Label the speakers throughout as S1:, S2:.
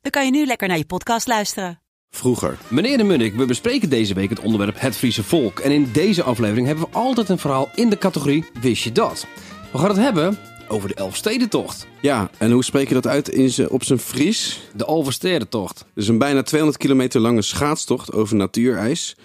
S1: dan kan je nu lekker naar je podcast luisteren.
S2: Vroeger.
S3: Meneer de Munnik, we bespreken deze week het onderwerp Het Friese Volk. En in deze aflevering hebben we altijd een verhaal in de categorie Wist je dat? We gaan het hebben over de Elfstedentocht.
S2: Ja, en hoe spreek je dat uit in z'n- op zijn Fries?
S3: De Alverstedentocht.
S2: Dus een bijna 200 kilometer lange schaatstocht over natuurijs.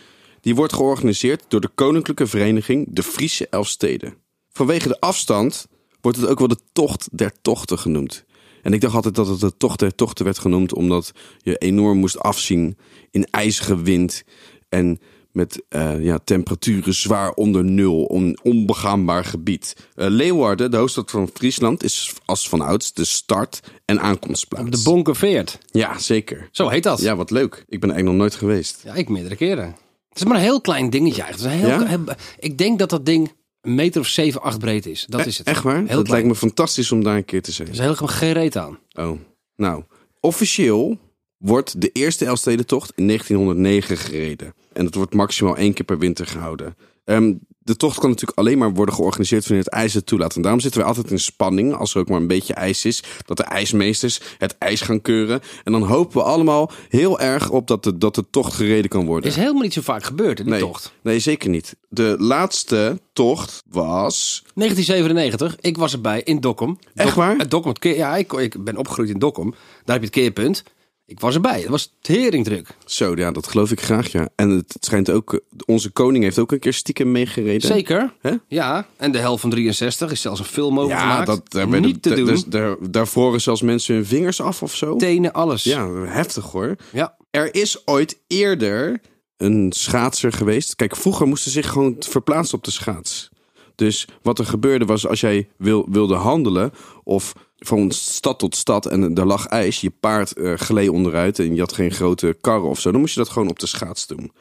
S2: Die wordt georganiseerd door de Koninklijke Vereniging de Friese Elfsteden. Vanwege de afstand wordt het ook wel de Tocht der Tochten genoemd. En ik dacht altijd dat het de Tocht der Tochten werd genoemd omdat je enorm moest afzien in ijzige wind en met eh, ja, temperaturen zwaar onder nul, een onbegaanbaar gebied. Eh, Leeuwarden, de hoofdstad van Friesland, is als vanouds de start- en aankomstplaats.
S3: De Bonkenveert.
S2: Ja, zeker.
S3: Zo heet dat.
S2: Ja, wat leuk. Ik ben eigenlijk nog nooit geweest.
S3: Ja, ik meerdere keren. Het is maar een heel klein dingetje eigenlijk. Het is een heel, heel- ik denk dat dat ding een meter of 7, 8 breed is. Dat is het.
S2: E- Echt waar?
S3: Heel
S2: dat
S3: klein.
S2: lijkt me fantastisch om daar een keer te zijn.
S3: Er is helemaal geen reet aan.
S2: Oh, nou. Officieel wordt de eerste Elfstedentocht in 1909 gereden. En dat wordt maximaal één keer per winter gehouden. Ehm, de tocht kan natuurlijk alleen maar worden georganiseerd wanneer het ijs het toelaat. En daarom zitten we altijd in spanning, als er ook maar een beetje ijs is, dat de ijsmeesters het ijs gaan keuren. En dan hopen we allemaal heel erg op dat de, dat de tocht gereden kan worden.
S3: Het is helemaal niet zo vaak gebeurd, hè, die
S2: nee,
S3: tocht.
S2: Nee, zeker niet. De laatste tocht was
S3: 1997, ik was erbij in Dokkum.
S2: Echt
S3: Dokkum-
S2: waar?
S3: eh, Dokkum, het keer, ja, ik, ik ben opgegroeid in Dokkum. Daar heb je het keerpunt. Ik was erbij. Het was teringdruk.
S2: Zo, ja, dat geloof ik graag, ja. En het schijnt ook, eh, onze koning heeft ook een keer stiekem meegereden.
S3: Zeker.
S2: Hè?
S3: Ja, en de helft van 63 is zelfs een film over
S2: Ja,
S3: gemaakt.
S2: dat, daar werden-
S3: Niet te
S2: da-
S3: doen.
S2: dus daar, daar vroren zelfs mensen hun vingers af of zo.
S3: Tenen, alles.
S2: Ja, heftig hoor.
S3: Ja.
S2: Er is ooit eerder een schaatser geweest. Kijk, vroeger moesten ze zich gewoon verplaatsen op de schaats. Dus wat er gebeurde was, als jij wil, wilde handelen of van stad tot stad en er lag ijs, je paard eh gleed onderuit en je had geen grote karren of zo, dan moest je dat gewoon op de schaats doen.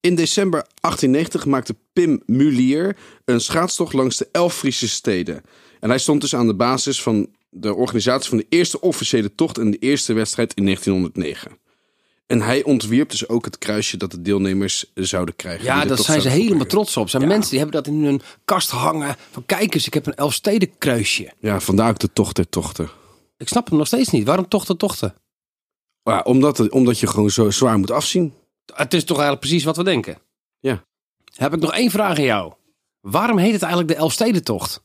S2: In december 1890 maakte Pim Mulier een schaatstocht langs de elf Friese steden. En hij stond dus aan de basis van de organisatie van de eerste officiële tocht en de eerste wedstrijd in 1909. En hij ontwierp dus ook het kruisje dat de deelnemers zouden krijgen.
S3: Ja,
S2: die de
S3: dat
S2: tocht
S3: zijn ze
S2: zouden
S3: helemaal
S2: volbrengen.
S3: trots op. Er zijn mensen die hebben dat in hun kast hangen. Van kijk eens, ik heb een Elfsteden kruisje.
S2: Ja, vandaar ook de tocht der tochten.
S3: Ik snap hem nog steeds niet. Waarom tochten, tochten?
S2: Ja, omdat, het- omdat je gewoon zo zwaar moet afzien.
S3: Het is toch eigenlijk precies wat we denken.
S2: Ja.
S3: Heb ik nog één vraag aan jou. Waarom heet het eigenlijk de Elfstedentocht?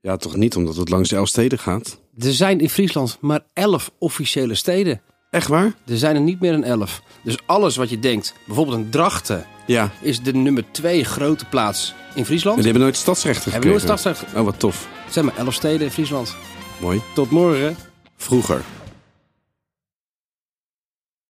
S2: Ja, toch niet omdat het langs de elf steden gaat.
S3: Er zijn in Friesland maar elf officiële steden.
S2: Echt waar?
S3: Er zijn er niet meer dan elf. Dus alles wat je denkt, bijvoorbeeld een Drachten,
S2: Ja. En
S3: is de nummer twee grote plaats in
S2: die
S3: Friesland.
S2: hebben nooit stadsrechten
S3: Hebben
S2: gekregen.
S3: we nooit stadsrecht?
S2: Oh, wat tof.
S3: Het zijn maar elf steden in Friesland.
S2: Mooi.
S3: Tot morgen.
S2: Vroeger.